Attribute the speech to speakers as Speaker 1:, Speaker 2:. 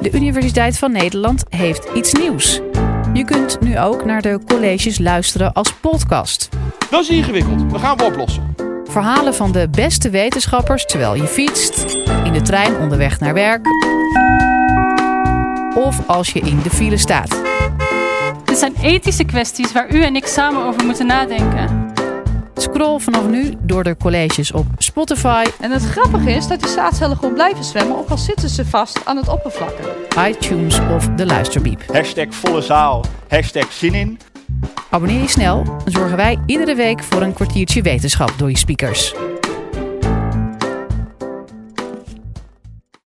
Speaker 1: De Universiteit van Nederland heeft iets nieuws. Je kunt nu ook naar de colleges luisteren als podcast.
Speaker 2: Dat is ingewikkeld. We gaan we oplossen.
Speaker 1: Verhalen van de beste wetenschappers terwijl je fietst, in de trein onderweg naar werk of als je in de file staat.
Speaker 3: Dit zijn ethische kwesties waar u en ik samen over moeten nadenken.
Speaker 1: Scroll vanaf nu door de colleges op Spotify,
Speaker 4: En het grappige is dat die zaadcellen gewoon blijven zwemmen, ook al zitten ze vast aan het oppervlakken.
Speaker 1: iTunes of de luisterbiep.
Speaker 2: Hashtag volle zaal. Hashtag zin in.
Speaker 1: Abonneer je snel, dan zorgen wij iedere week voor een kwartiertje wetenschap door je speakers.